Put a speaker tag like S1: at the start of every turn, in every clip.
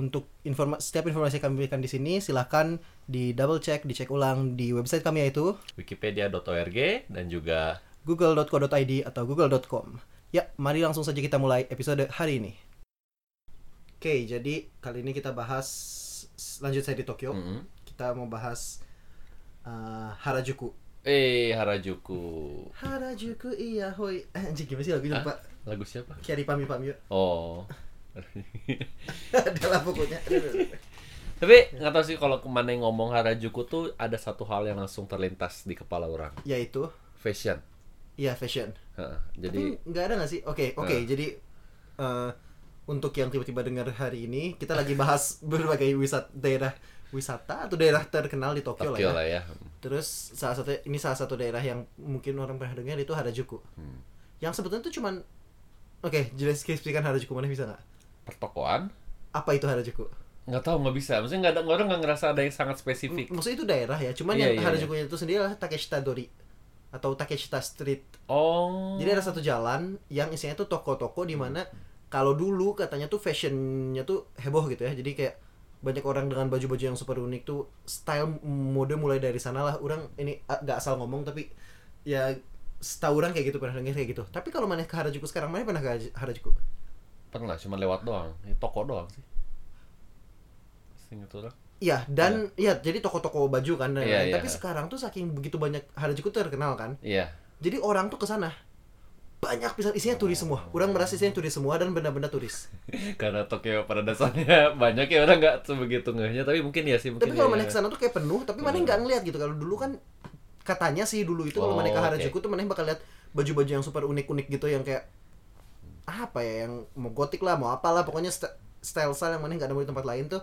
S1: untuk informa setiap informasi yang kami berikan di sini silahkan di double check, dicek ulang di website kami yaitu
S2: Wikipedia.org dan juga
S1: google.co.id atau google.com. Ya, mari langsung saja kita mulai episode hari ini. Oke, jadi kali ini kita bahas lanjut saya di Tokyo.
S2: Mm-mm.
S1: Kita mau bahas uh, Harajuku.
S2: Eh Harajuku.
S1: Harajuku iya hoi. Anjing gimana sih lagunya,
S2: Hah?
S1: Pak?
S2: Lagu siapa?
S1: Kiari Pami Pami. yuk.
S2: Oh.
S1: Adalah pokoknya.
S2: Tapi nggak tahu sih kalau kemana yang ngomong Harajuku tuh ada satu hal yang langsung terlintas di kepala orang.
S1: Yaitu
S2: Fashion.
S1: iya fashion.
S2: Heeh. Jadi
S1: Tapi nggak ada nggak sih? Oke, oke.
S2: Eh.
S1: Jadi eh, untuk yang tiba-tiba dengar hari ini, kita lagi bahas berbagai wisata daerah wisata atau daerah terkenal di Tokyo,
S2: Tokyo
S1: lah ya.
S2: lah ya.
S1: Terus salah satu ini salah satu daerah yang mungkin orang pernah dengar itu Harajuku.
S2: Hmm.
S1: Yang sebetulnya itu cuman Oke, jelas explikan Harajuku mana bisa nggak?
S2: Pertokoan?
S1: Apa itu Harajuku?
S2: Nggak tahu nggak bisa. Maksudnya nggak ada orang nggak ngerasa ada yang sangat spesifik.
S1: M- Maksudnya itu daerah ya, cuman
S2: Iya,
S1: yang
S2: iya,
S1: Harajukunya itu sendiri adalah Takeshita Dori atau Takeshita Street
S2: Oh.
S1: Jadi ada satu jalan yang isinya tuh toko-toko di mana kalau dulu katanya tuh fashionnya tuh heboh gitu ya. Jadi kayak banyak orang dengan baju-baju yang super unik tuh style mode mulai dari sanalah. Orang ini ah, nggak asal ngomong tapi ya setahu orang kayak gitu pernah dengar kayak gitu. Tapi kalau mana ke Harajuku sekarang mana pernah ke Haraj- Harajuku?
S2: pernah cuma lewat doang Ini toko doang sih Seinget orang
S1: Iya, dan iya jadi toko-toko baju kan dan
S2: Iya,
S1: lain-lain.
S2: iya.
S1: Tapi sekarang tuh saking begitu banyak Harajuku tuh terkenal kan.
S2: iya
S1: Jadi orang tuh ke sana banyak pisan isinya turis semua. Orang merasa isinya turis semua dan benda-benda turis.
S2: karena Tokyo pada dasarnya banyak ya orang nggak sebegitu ngehnya tapi mungkin ya sih mungkin
S1: Tapi kalau
S2: ya, Hmm.
S1: maneh kesana tuh kayak penuh, tapi maneh nggak ngeliat gitu. Kalau dulu kan katanya sih dulu itu kalau
S2: Oh,
S1: maneh ke
S2: oke.
S1: Harajuku tuh maneh bakal lihat baju-baju yang super unik-unik gitu yang kayak apa ya yang mau gotik lah, mau apalah, pokoknya st- style style yang maneh nggak nemu di tempat lain tuh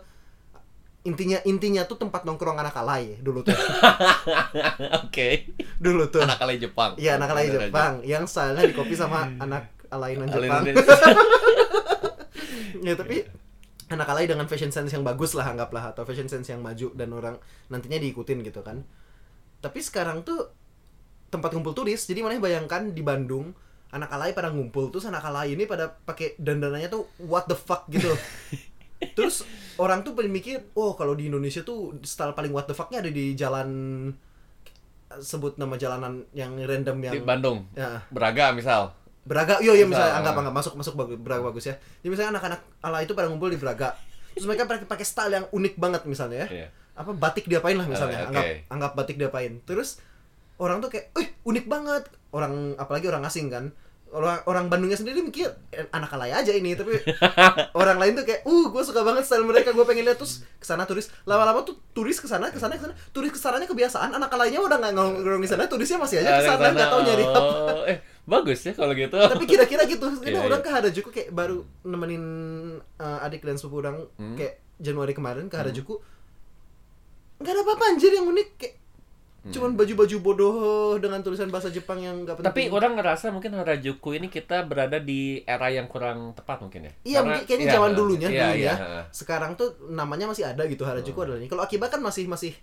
S1: intinya intinya tuh tempat nongkrong anak alay dulu tuh
S2: oke
S1: dulu tuh
S2: anak alay Jepang Hmm.
S1: iya anak alay
S2: Bener aja.
S1: Jepang yang stylenya di kopi sama anak alay non
S2: Alay
S1: Jepang
S2: Indonesia.
S1: ya tapi anak alay dengan fashion sense yang bagus lah anggaplah atau fashion sense yang maju dan orang nantinya diikutin gitu kan tapi sekarang tuh tempat kumpul turis jadi mana bayangkan di Bandung anak alay pada ngumpul terus anak alay ini pada pakai dandanannya tuh what the fuck gitu terus orang tuh paling mikir oh kalau di Indonesia tuh style paling what the fucknya ada di jalan sebut nama jalanan yang random yang
S2: di Bandung
S1: ya
S2: Braga misal
S1: Braga, yo ya misalnya
S2: Bisa.
S1: anggap anggap masuk masuk bagus Braga bagus ya. Jadi misalnya anak-anak ala itu pada ngumpul di Braga. Terus mereka pakai pakai style yang unik banget misalnya ya.
S2: Iya.
S1: Apa batik diapain lah misalnya,
S2: Eh, oke.
S1: anggap anggap batik diapain. Terus orang tuh kayak, "Eh, unik banget." Orang apalagi orang asing kan. Orang orang Bandungnya sendiri mikir "Eh, anak alay aja ini, tapi orang lain tuh kayak, "Uh, gue suka banget style mereka, gue pengen lihat." Terus kesana turis, lama-lama tuh turis kesana kesana kesana turis kesananya kebiasaan, anak alaynya udah nggak nongkrong di sana, turisnya masih
S2: Ah,
S1: aja kesana nggak tahu nyari apa
S2: oh, eh bagus ya kalau gitu
S1: tapi kira-kira gitu ini
S2: Iya,
S1: orang
S2: iya.
S1: ke Harajuku kayak baru nemenin uh, adik dan sepupu orang
S2: Hmm.
S1: kayak Januari kemarin ke Harajuku nggak ada apa-apa anjir yang unik kayak
S2: Hmm.
S1: cuman baju-baju bodoh dengan tulisan bahasa Jepang yang nggak penting
S2: tapi orang ngerasa mungkin Harajuku ini kita berada di era yang kurang tepat mungkin ya
S1: Iya
S2: Karena-
S1: mungkin kayaknya
S2: iya,
S1: zaman dulunya
S2: iya,
S1: dulu
S2: iya,
S1: ya.
S2: heeh.
S1: Sekarang tuh namanya masih ada gitu Harajuku
S2: Hmm.
S1: adalah ini. Kalau Akiba kan masih masih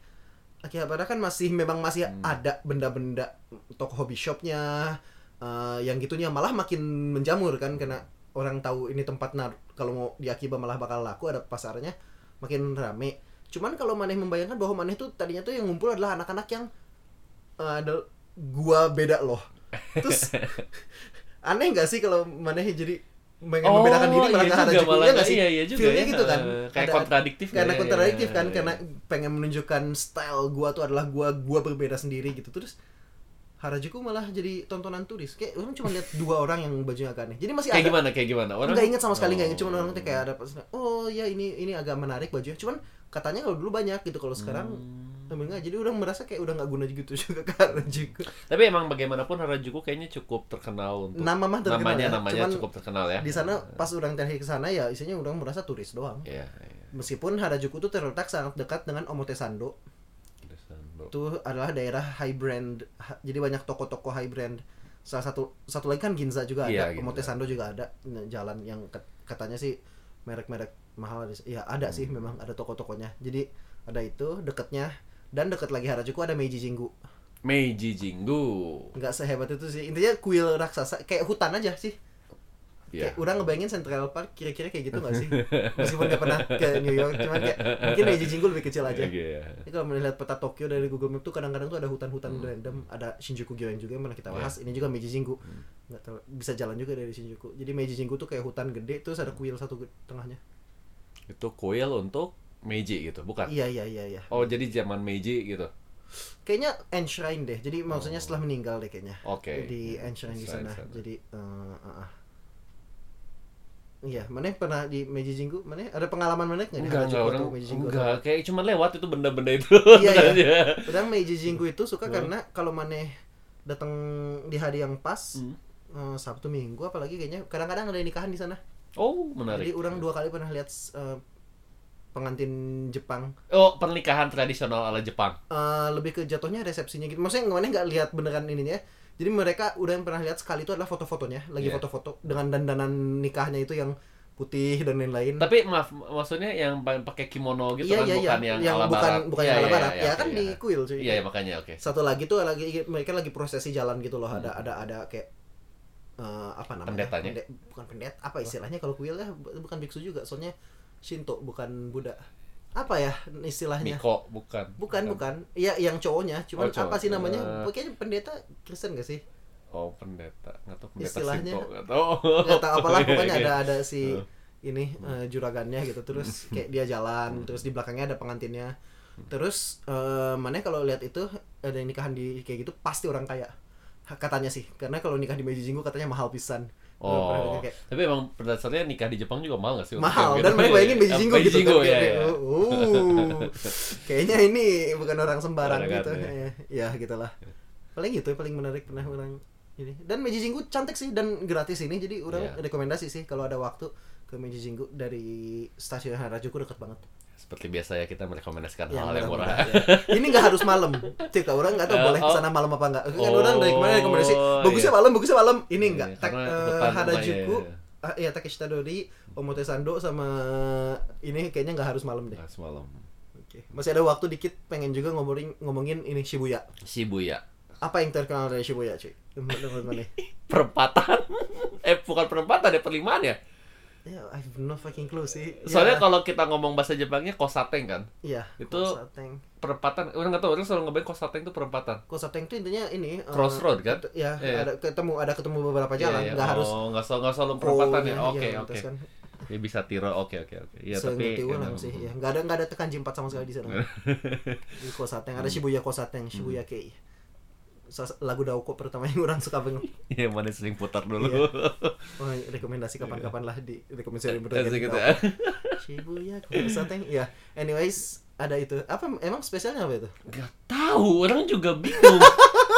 S1: Akihabara kan masih memang masih
S2: Hmm.
S1: ada benda-benda toko hobi shopnya eh, yang gitunya malah makin menjamur kan karena orang tahu ini tempat nar kalau mau di Akiba malah bakal laku ada pasarnya makin rame. Cuman kalau Maneh membayangkan bahwa Maneh tuh tadinya tuh yang ngumpul adalah anak-anak yang eh, ada gua beda loh. Terus aneh nggak sih kalau Maneh jadi pengen membedakan diri malah
S2: iya
S1: ke
S2: juga,
S1: Harajuku iya
S2: malah
S1: nggak
S2: nggak-
S1: sih?
S2: Iya, iya juga
S1: Feel-nya
S2: ya.
S1: gitu kan.
S2: Eh, Kayak
S1: Ada-
S2: kontradiktif.
S1: karena
S2: ya,
S1: kontradiktif
S2: iya,
S1: kan
S2: iya.
S1: karena pengen menunjukkan style gua tuh adalah gua gua berbeda sendiri gitu terus Harajuku malah jadi tontonan turis kayak orang cuma lihat dua orang yang bajunya agak aneh jadi masih
S2: kayak
S1: Iya, ada
S2: gimana kayak gimana orang
S1: nggak inget sama sekali nggak inget
S2: Oh.
S1: cuma orang tuh kayak ada pas oh ya ini ini agak menarik bajunya cuman katanya kalau dulu banyak gitu kalau sekarang
S2: Hmm.
S1: emang nggak jadi orang merasa kayak udah nggak guna gitu juga ke Harajuku
S2: tapi emang bagaimanapun Harajuku kayaknya cukup terkenal untuk
S1: nama mah terkenal
S2: namanya
S1: ya.
S2: namanya
S1: cuman
S2: cukup terkenal ya
S1: di sana pas orang terakhir ke sana ya isinya orang merasa turis doang
S2: Iya, iya.
S1: Meskipun Harajuku itu terletak sangat dekat dengan Omotesando, itu adalah daerah high brand. Ha- Jadi banyak toko-toko high brand. Salah satu satu lagi kan Ginza juga ada,
S2: Iya, Ginza.
S1: Omotesando juga ada Nah, jalan yang kat- katanya sih merek-merek mahal ada. Ya ada sih
S2: Hmm.
S1: memang ada toko-tokonya. Jadi ada itu dekatnya dan dekat lagi Harajuku ada Meiji Jingu.
S2: Meiji Jingu.
S1: Nggak sehebat itu sih. Intinya kuil raksasa kayak hutan aja sih.
S2: Ya.
S1: Kayak orang ngebayangin Central Park kira-kira kayak gitu gak sih? Meskipun gak pernah ke New York, cuman kayak mungkin Meiji Jingu lebih kecil aja.
S2: Oke, ya.
S1: Ini kalau melihat peta Tokyo dari Google Map tuh kadang-kadang tuh ada hutan-hutan
S2: Hmm.
S1: random, ada Shinjuku Gyoen juga yang pernah kita bahas.
S2: Iya.
S1: Ini juga Meiji Jingu.
S2: Hmm.
S1: Nggak tahu, bisa jalan juga dari Shinjuku. Jadi Meiji Jingu tuh kayak hutan gede terus
S2: Hmm.
S1: ada kuil satu ge- tengahnya.
S2: Itu kuil untuk Meiji gitu, bukan?
S1: Iya iya iya iya.
S2: Oh, jadi zaman Meiji gitu.
S1: Kayaknya enshrine deh. Jadi maksudnya setelah meninggal deh kayaknya.
S2: Oh. Oke.
S1: Di enshrine di
S2: Enshrine
S1: sana.
S2: sana.
S1: Jadi eh, ah, ah. Iya, mana yang pernah di Meiji Jingu? Mana ada pengalaman mana nggak di
S2: Enggak, enggak
S1: Harajuku
S2: orang
S1: atau Meiji Jingu?
S2: enggak kayak cuma lewat itu benda-benda itu.
S1: Iya, iya.
S2: aja.
S1: Padahal Meiji Jingu itu suka
S2: Hmm.
S1: karena kalau maneh datang di hari yang pas
S2: Hmm.
S1: eh, Sabtu Minggu apalagi kayaknya kadang-kadang ada nikahan di sana.
S2: Oh, menarik.
S1: Jadi orang dua kali pernah lihat eh, pengantin Jepang
S2: Oh, pernikahan tradisional ala Jepang.
S1: Eh, lebih ke jatuhnya resepsinya gitu. Maksudnya maneh nggak lihat beneran ininya. Jadi mereka udah yang pernah lihat sekali itu adalah foto-fotonya, lagi
S2: Iya.
S1: foto-foto dengan dandanan nikahnya itu yang putih dan lain-lain.
S2: Tapi maaf, m- maksudnya yang pa- pakai kimono gitu
S1: iya,
S2: kan
S1: iya, iya.
S2: bukan yang, ala
S1: bukan
S2: barat.
S1: bukan
S2: Iya,
S1: yang ala
S2: iya,
S1: barat.
S2: iya,
S1: ya kan
S2: iya.
S1: di kuil cuy.
S2: Iya, ya, makanya oke.
S1: satu lagi tuh lagi mereka lagi prosesi jalan gitu loh ada ada ada kayak eh, apa namanya
S2: Hmm. Pendetanya?
S1: Pende- bukan pendet apa istilahnya kalau kuil ya bu- bukan biksu juga soalnya Shinto bukan Buddha apa ya istilahnya
S2: Miko bukan.
S1: bukan bukan ya yang cowoknya cuman
S2: Oh, cowok.
S1: apa sih namanya
S2: Eh.
S1: pokoknya pendeta Kristen gak sih
S2: Oh, pendeta. Enggak tahu pendeta
S1: Istilahnya-
S2: Shinto, nggak tahu.
S1: nggak
S2: Oh,
S1: tahu apalah pokoknya
S2: Oke,
S1: ada
S2: oke.
S1: ada si
S2: Heeh.
S1: ini eh, juragannya gitu terus kayak dia jalan terus di belakangnya ada pengantinnya terus eh, mana kalau lihat itu ada yang nikahan di kayak gitu pasti orang kaya katanya sih karena kalau nikah di Meiji Jinggu katanya mahal pisan Gua pernah
S2: Oh,
S1: dengar kayak,
S2: tapi emang berdasarnya nikah di Jepang juga mahal nggak sih?
S1: mahal
S2: Gitu.
S1: dan mereka bayangin Meiji
S2: Eh,
S1: Jinggu gitu kan
S2: ya,
S1: Kayak,
S2: ya.
S1: "Uh, kayaknya ini bukan orang sembarang
S2: Orang
S1: gitu ya,
S2: kaya.
S1: ya gitulah paling gitu paling menarik pernah orang ini dan Meiji Jinggu cantik sih dan gratis ini jadi orang
S2: Iya.
S1: rekomendasi sih kalau ada waktu ke Meiji Jinggu dari stasiun Harajuku dekat banget
S2: Seperti biasa ya kita merekomendasikan
S1: Ya,
S2: hal-hal yang murah.
S1: murah-murah, ya. Ini nggak harus malam. Cek lah, orang nggak tahu
S2: Eh,
S1: boleh
S2: oh.
S1: kesana malam apa nggak. Kan
S2: Oh,
S1: orang dari kemarin rekomendasi bagusnya
S2: iya.
S1: malam, bagusnya malam. Ini
S2: Iya,
S1: nggak. Tak
S2: karena
S1: eh,
S2: depan
S1: Harajuku,
S2: rumahnya,
S1: ah, iya Takeshita Dori, Omotesando sama ini kayaknya nggak harus malam deh.
S2: Nah, semalam.
S1: Oke. Masih ada waktu dikit pengen juga ngomongin ngomongin ini Shibuya.
S2: Shibuya.
S1: Apa yang terkenal dari Shibuya, cuy? Menurut mana?
S2: Perempatan. eh, bukan perempatan ya, perlimaan ya.
S1: Ya, I have no fucking clue sih. ya,
S2: Soalnya kalau kita ngomong bahasa Jepangnya kosateng kan.
S1: Iya,
S2: itu-
S1: Kosateng.
S2: Perempatan, orang nggak tahu, orang selalu ngebayang kosateng itu perempatan.
S1: Kosateng tuh intinya ini eh,
S2: Crossroad, kan?
S1: ket- Ya,
S2: Iya.
S1: ada ketemu ada ketemu beberapa jalan,
S2: Iya, iya.
S1: nggak harus
S2: Oh, nggak selalu, nggak selalu perempatan ya.
S1: Oh,
S2: Oke,
S1: iya,
S2: oke.
S1: terus kan.
S2: Ya bisa tiro, oke, oke, oke. Iya, tapi...
S1: Seengerti ulang sih ya. Enggak ada enggak ada tekan jimpat sama sekali di sana. di Kosateng
S2: Hmm.
S1: ada Shibuya Kosateng, Shibuya Kei. Sa- Lagu Daoko pertama yang orang suka banget.
S2: Iya, mana sering putar
S1: Iya.
S2: dulu.
S1: Oh, rekomendasi kapan-kapan lah di rekomendasi
S2: Terus
S1: dari
S2: gitu
S1: Daoko.
S2: ya.
S1: Shibuya Kosateng. Ya, anyways ada itu. Apa emang spesialnya apa itu?
S2: Gak tahu, orang juga bingung.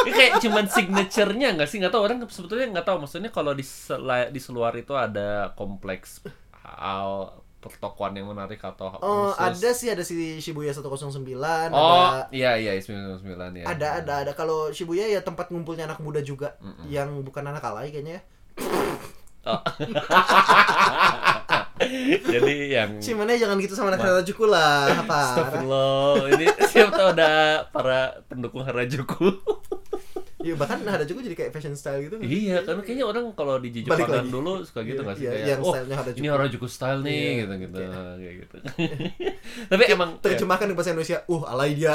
S2: Ini kayak cuman signaturenya nggak sih? Nggak tahu orang sebetulnya nggak tahu. Maksudnya kalau di sela- di seluar itu ada kompleks hal pertokoan yang menarik atau
S1: Oh,
S2: khusus.
S1: ada sih ada si Shibuya 109,
S2: Oh,
S1: ada
S2: iya iya 99 ya.
S1: ada ada ada kalau Shibuya ya tempat ngumpulnya anak muda juga yang bukan anak alay kayaknya ya.
S2: Jadi yang
S1: Cih, mana jangan gitu sama
S2: Nah.
S1: anak Harajuku lah, apa?
S2: Astagfirullah, ini siapa tahu ada para pendukung Harajuku.
S1: Iya bahkan Harajuku jadi kayak fashion style gitu. nggak sih?
S2: iya, karena kayaknya orang kalau di
S1: Balik
S2: Jepangan
S1: lagi.
S2: dulu suka gitu
S1: Iya,
S2: nggak sih?
S1: iya,
S2: Kayak,
S1: yang stylenya Harajuku."
S2: ini Harajuku style nih,
S1: Iya,
S2: gitu-gitu.
S1: kayak-
S2: Kayak gitu. Tapi emang...
S1: Terjemahkan ke bahasa Indonesia, uh alay dia.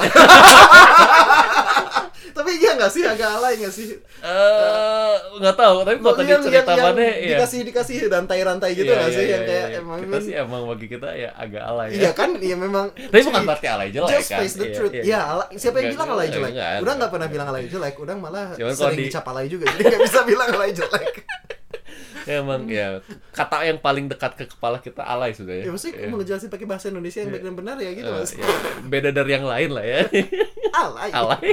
S1: Tapi iya nggak sih agak alay nggak sih?
S2: Eh, nggak tahu tapi kalau
S1: Lo
S2: tadi
S1: yang-
S2: cerita
S1: yang-
S2: mana ya? iya.
S1: yang dikasih dikasih rantai-rantai gitu nggak sih yang kayak emang
S2: kita sih emang bagi kita ya agak alay ya
S1: Iya kan, iya memang.
S2: tapi bukan berarti alay jelek
S1: Just
S2: kan
S1: face the
S2: Iya,
S1: truth.
S2: iya.
S1: Ya, alay- siapa yang
S2: Nggak,
S1: bilang alay
S2: nggak,
S1: jelek?
S2: nggak,
S1: Udang nggak
S2: nggak.
S1: pernah bilang alay jelek. Udang malah
S2: Cuman kalau
S1: sering
S2: di-
S1: dicap alay juga. Jadi nggak bisa bilang alay jelek.
S2: emang ya kata yang paling dekat ke kepala kita alay sudah
S1: Ya
S2: ya
S1: maksudnya mau ngejelasin pakai bahasa Indonesia yang baik dan benar ya gitu
S2: Eh,
S1: mas.
S2: iya. beda dari yang lain lah ya
S1: Alay.
S2: alay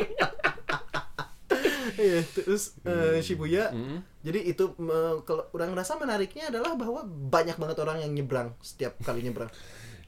S1: Iya, terus eh, Shibuya.
S2: Hmm.
S1: Jadi itu eh, kalau orang rasa menariknya adalah bahwa banyak banget orang yang nyebrang setiap kali nyebrang.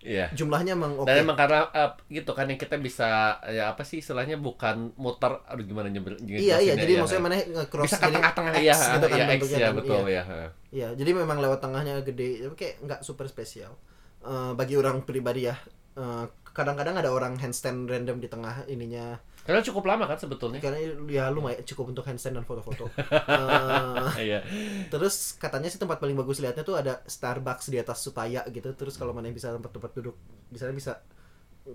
S2: Iya.
S1: jumlahnya emang oke
S2: Dan emang karena eh, gitu kan yang kita bisa ya apa sih istilahnya bukan muter aduh gimana nyebel
S1: iya iya
S2: ngejelasinnya,
S1: jadi
S2: ya.
S1: maksudnya mana nge-cross
S2: bisa ke
S1: jadi
S2: tengah-tengah
S1: X
S2: ya,
S1: gitu kan
S2: ya X
S1: bentuknya
S2: ya
S1: kan.
S2: betul
S1: Iya.
S2: ya. ha.
S1: Iya, jadi memang lewat tengahnya gede, tapi kayak nggak super spesial. Eh, bagi orang pribadi ya, Eh, kadang-kadang ada orang handstand random di tengah ininya.
S2: Karena cukup lama kan sebetulnya.
S1: Karena ya lumayan cukup untuk handstand dan foto-foto. Eh,
S2: Iya.
S1: terus katanya sih tempat paling bagus lihatnya tuh ada Starbucks di atas Sutaya gitu. Terus kalau mana yang bisa tempat-tempat duduk, di sana bisa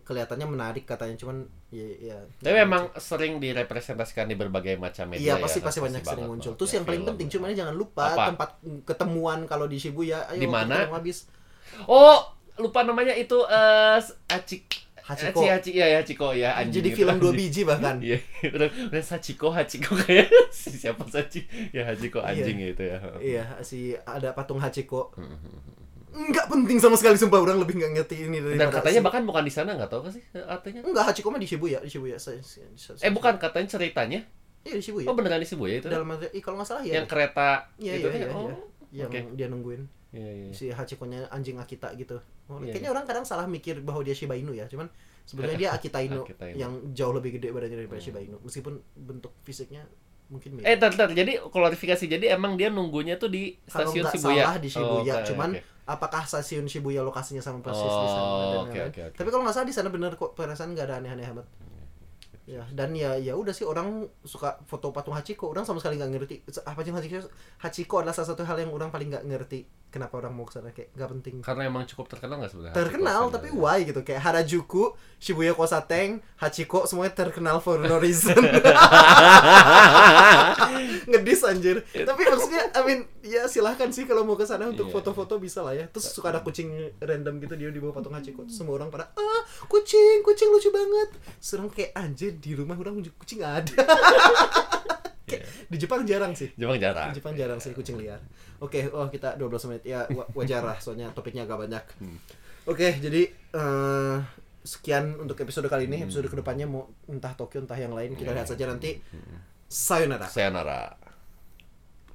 S1: kelihatannya menarik katanya. Cuman ya, ya
S2: Tapi memang sering direpresentasikan di berbagai macam media.
S1: Iya pasti
S2: ya,
S1: pasti banyak sering
S2: banget,
S1: muncul.
S2: banget.
S1: Terus
S2: Ya,
S1: yang paling
S2: film.
S1: penting cuman jangan lupa
S2: Apa?
S1: tempat ketemuan kalau di Shibuya. Ayo
S2: Di mana?
S1: kita ketemu Habis.
S2: Oh, lupa namanya itu eh Acik
S1: Hachiko.
S2: Hachi, Hachi, ya, ya, Hachiko ya. anjing.
S1: Jadi film dua biji bahkan.
S2: Iya, udah, udah Sachiko, Hachiko kayak si siapa Sachi? Ya Hachiko anjing gitu ya. Hmm,
S1: Iya, si ada patung Hachiko. Nggak penting sama sekali sumpah orang lebih nggak ngerti ini dari
S2: Dan katanya bahkan bukan di sana nggak tahu kan sih artinya?
S1: Enggak, Hachiko mah di Shibuya, di Shibuya. Saya, saya- saya-
S2: Eh bukan katanya ceritanya?
S1: Iya di Shibuya.
S2: Oh beneran di Shibuya itu?
S1: Dalam arti- ih, kalau nggak salah ya.
S2: yang kereta
S1: Iya,
S2: itu
S1: iya,
S2: kan?
S1: iya,
S2: oh,
S1: iya. Yang
S2: oke.
S1: dia nungguin
S2: Iya, iya.
S1: si Hachikonya anjing Akita gitu. Oh,
S2: Iya,
S1: Kayaknya orang kadang salah mikir bahwa dia Shiba Inu ya, cuman sebenarnya dia Akita Inu
S2: Akita Inu. Hmm.
S1: yang jauh lebih gede badannya daripada Shiba Inu. Meskipun bentuk fisiknya mungkin mirip.
S2: Eh, tar, tar. Jadi klarifikasi. Jadi emang dia nunggunya tuh di
S1: kalau
S2: stasiun
S1: nggak
S2: Shibuya.
S1: salah di Shibuya,
S2: Oh, oke,
S1: cuman
S2: oke.
S1: apakah stasiun Shibuya lokasinya sama persis di sana dan
S2: Oh, oke,
S1: lain-lain.
S2: oke, oke.
S1: Tapi kalau nggak salah di sana bener kok perasaan nggak ada aneh-aneh amat. Ya, dan ya ya udah sih orang suka foto patung Hachiko, orang sama sekali nggak ngerti apa sih Hachiko. Hachiko adalah salah satu hal yang orang paling nggak ngerti kenapa orang mau ke sana kayak nggak penting.
S2: karena emang cukup terkenal nggak sebenarnya?
S1: Terkenal
S2: Hachiko
S1: tapi
S2: sana?
S1: why gitu kayak Harajuku, Shibuya Kosateng, Hachiko semuanya terkenal for no reason. ngedis anjir tapi maksudnya I mean ya silahkan sih kalau mau ke sana untuk
S2: Iya.
S1: foto-foto bisa lah ya terus suka ada kucing random gitu dia di bawah patung Hachiko terus semua orang pada ah kucing kucing lucu banget serang kayak anjir di rumah orang kucing nggak ada Kayak, di Jepang jarang sih
S2: Jepang jarang.
S1: di Jepang jarang sih kucing liar oke oh kita 12 menit ya wa- wajar lah soalnya topiknya agak banyak oke jadi eh, sekian untuk episode kali ini episode kedepannya mau entah Tokyo entah yang lain kita lihat saja nanti sayonara
S2: Sayonara.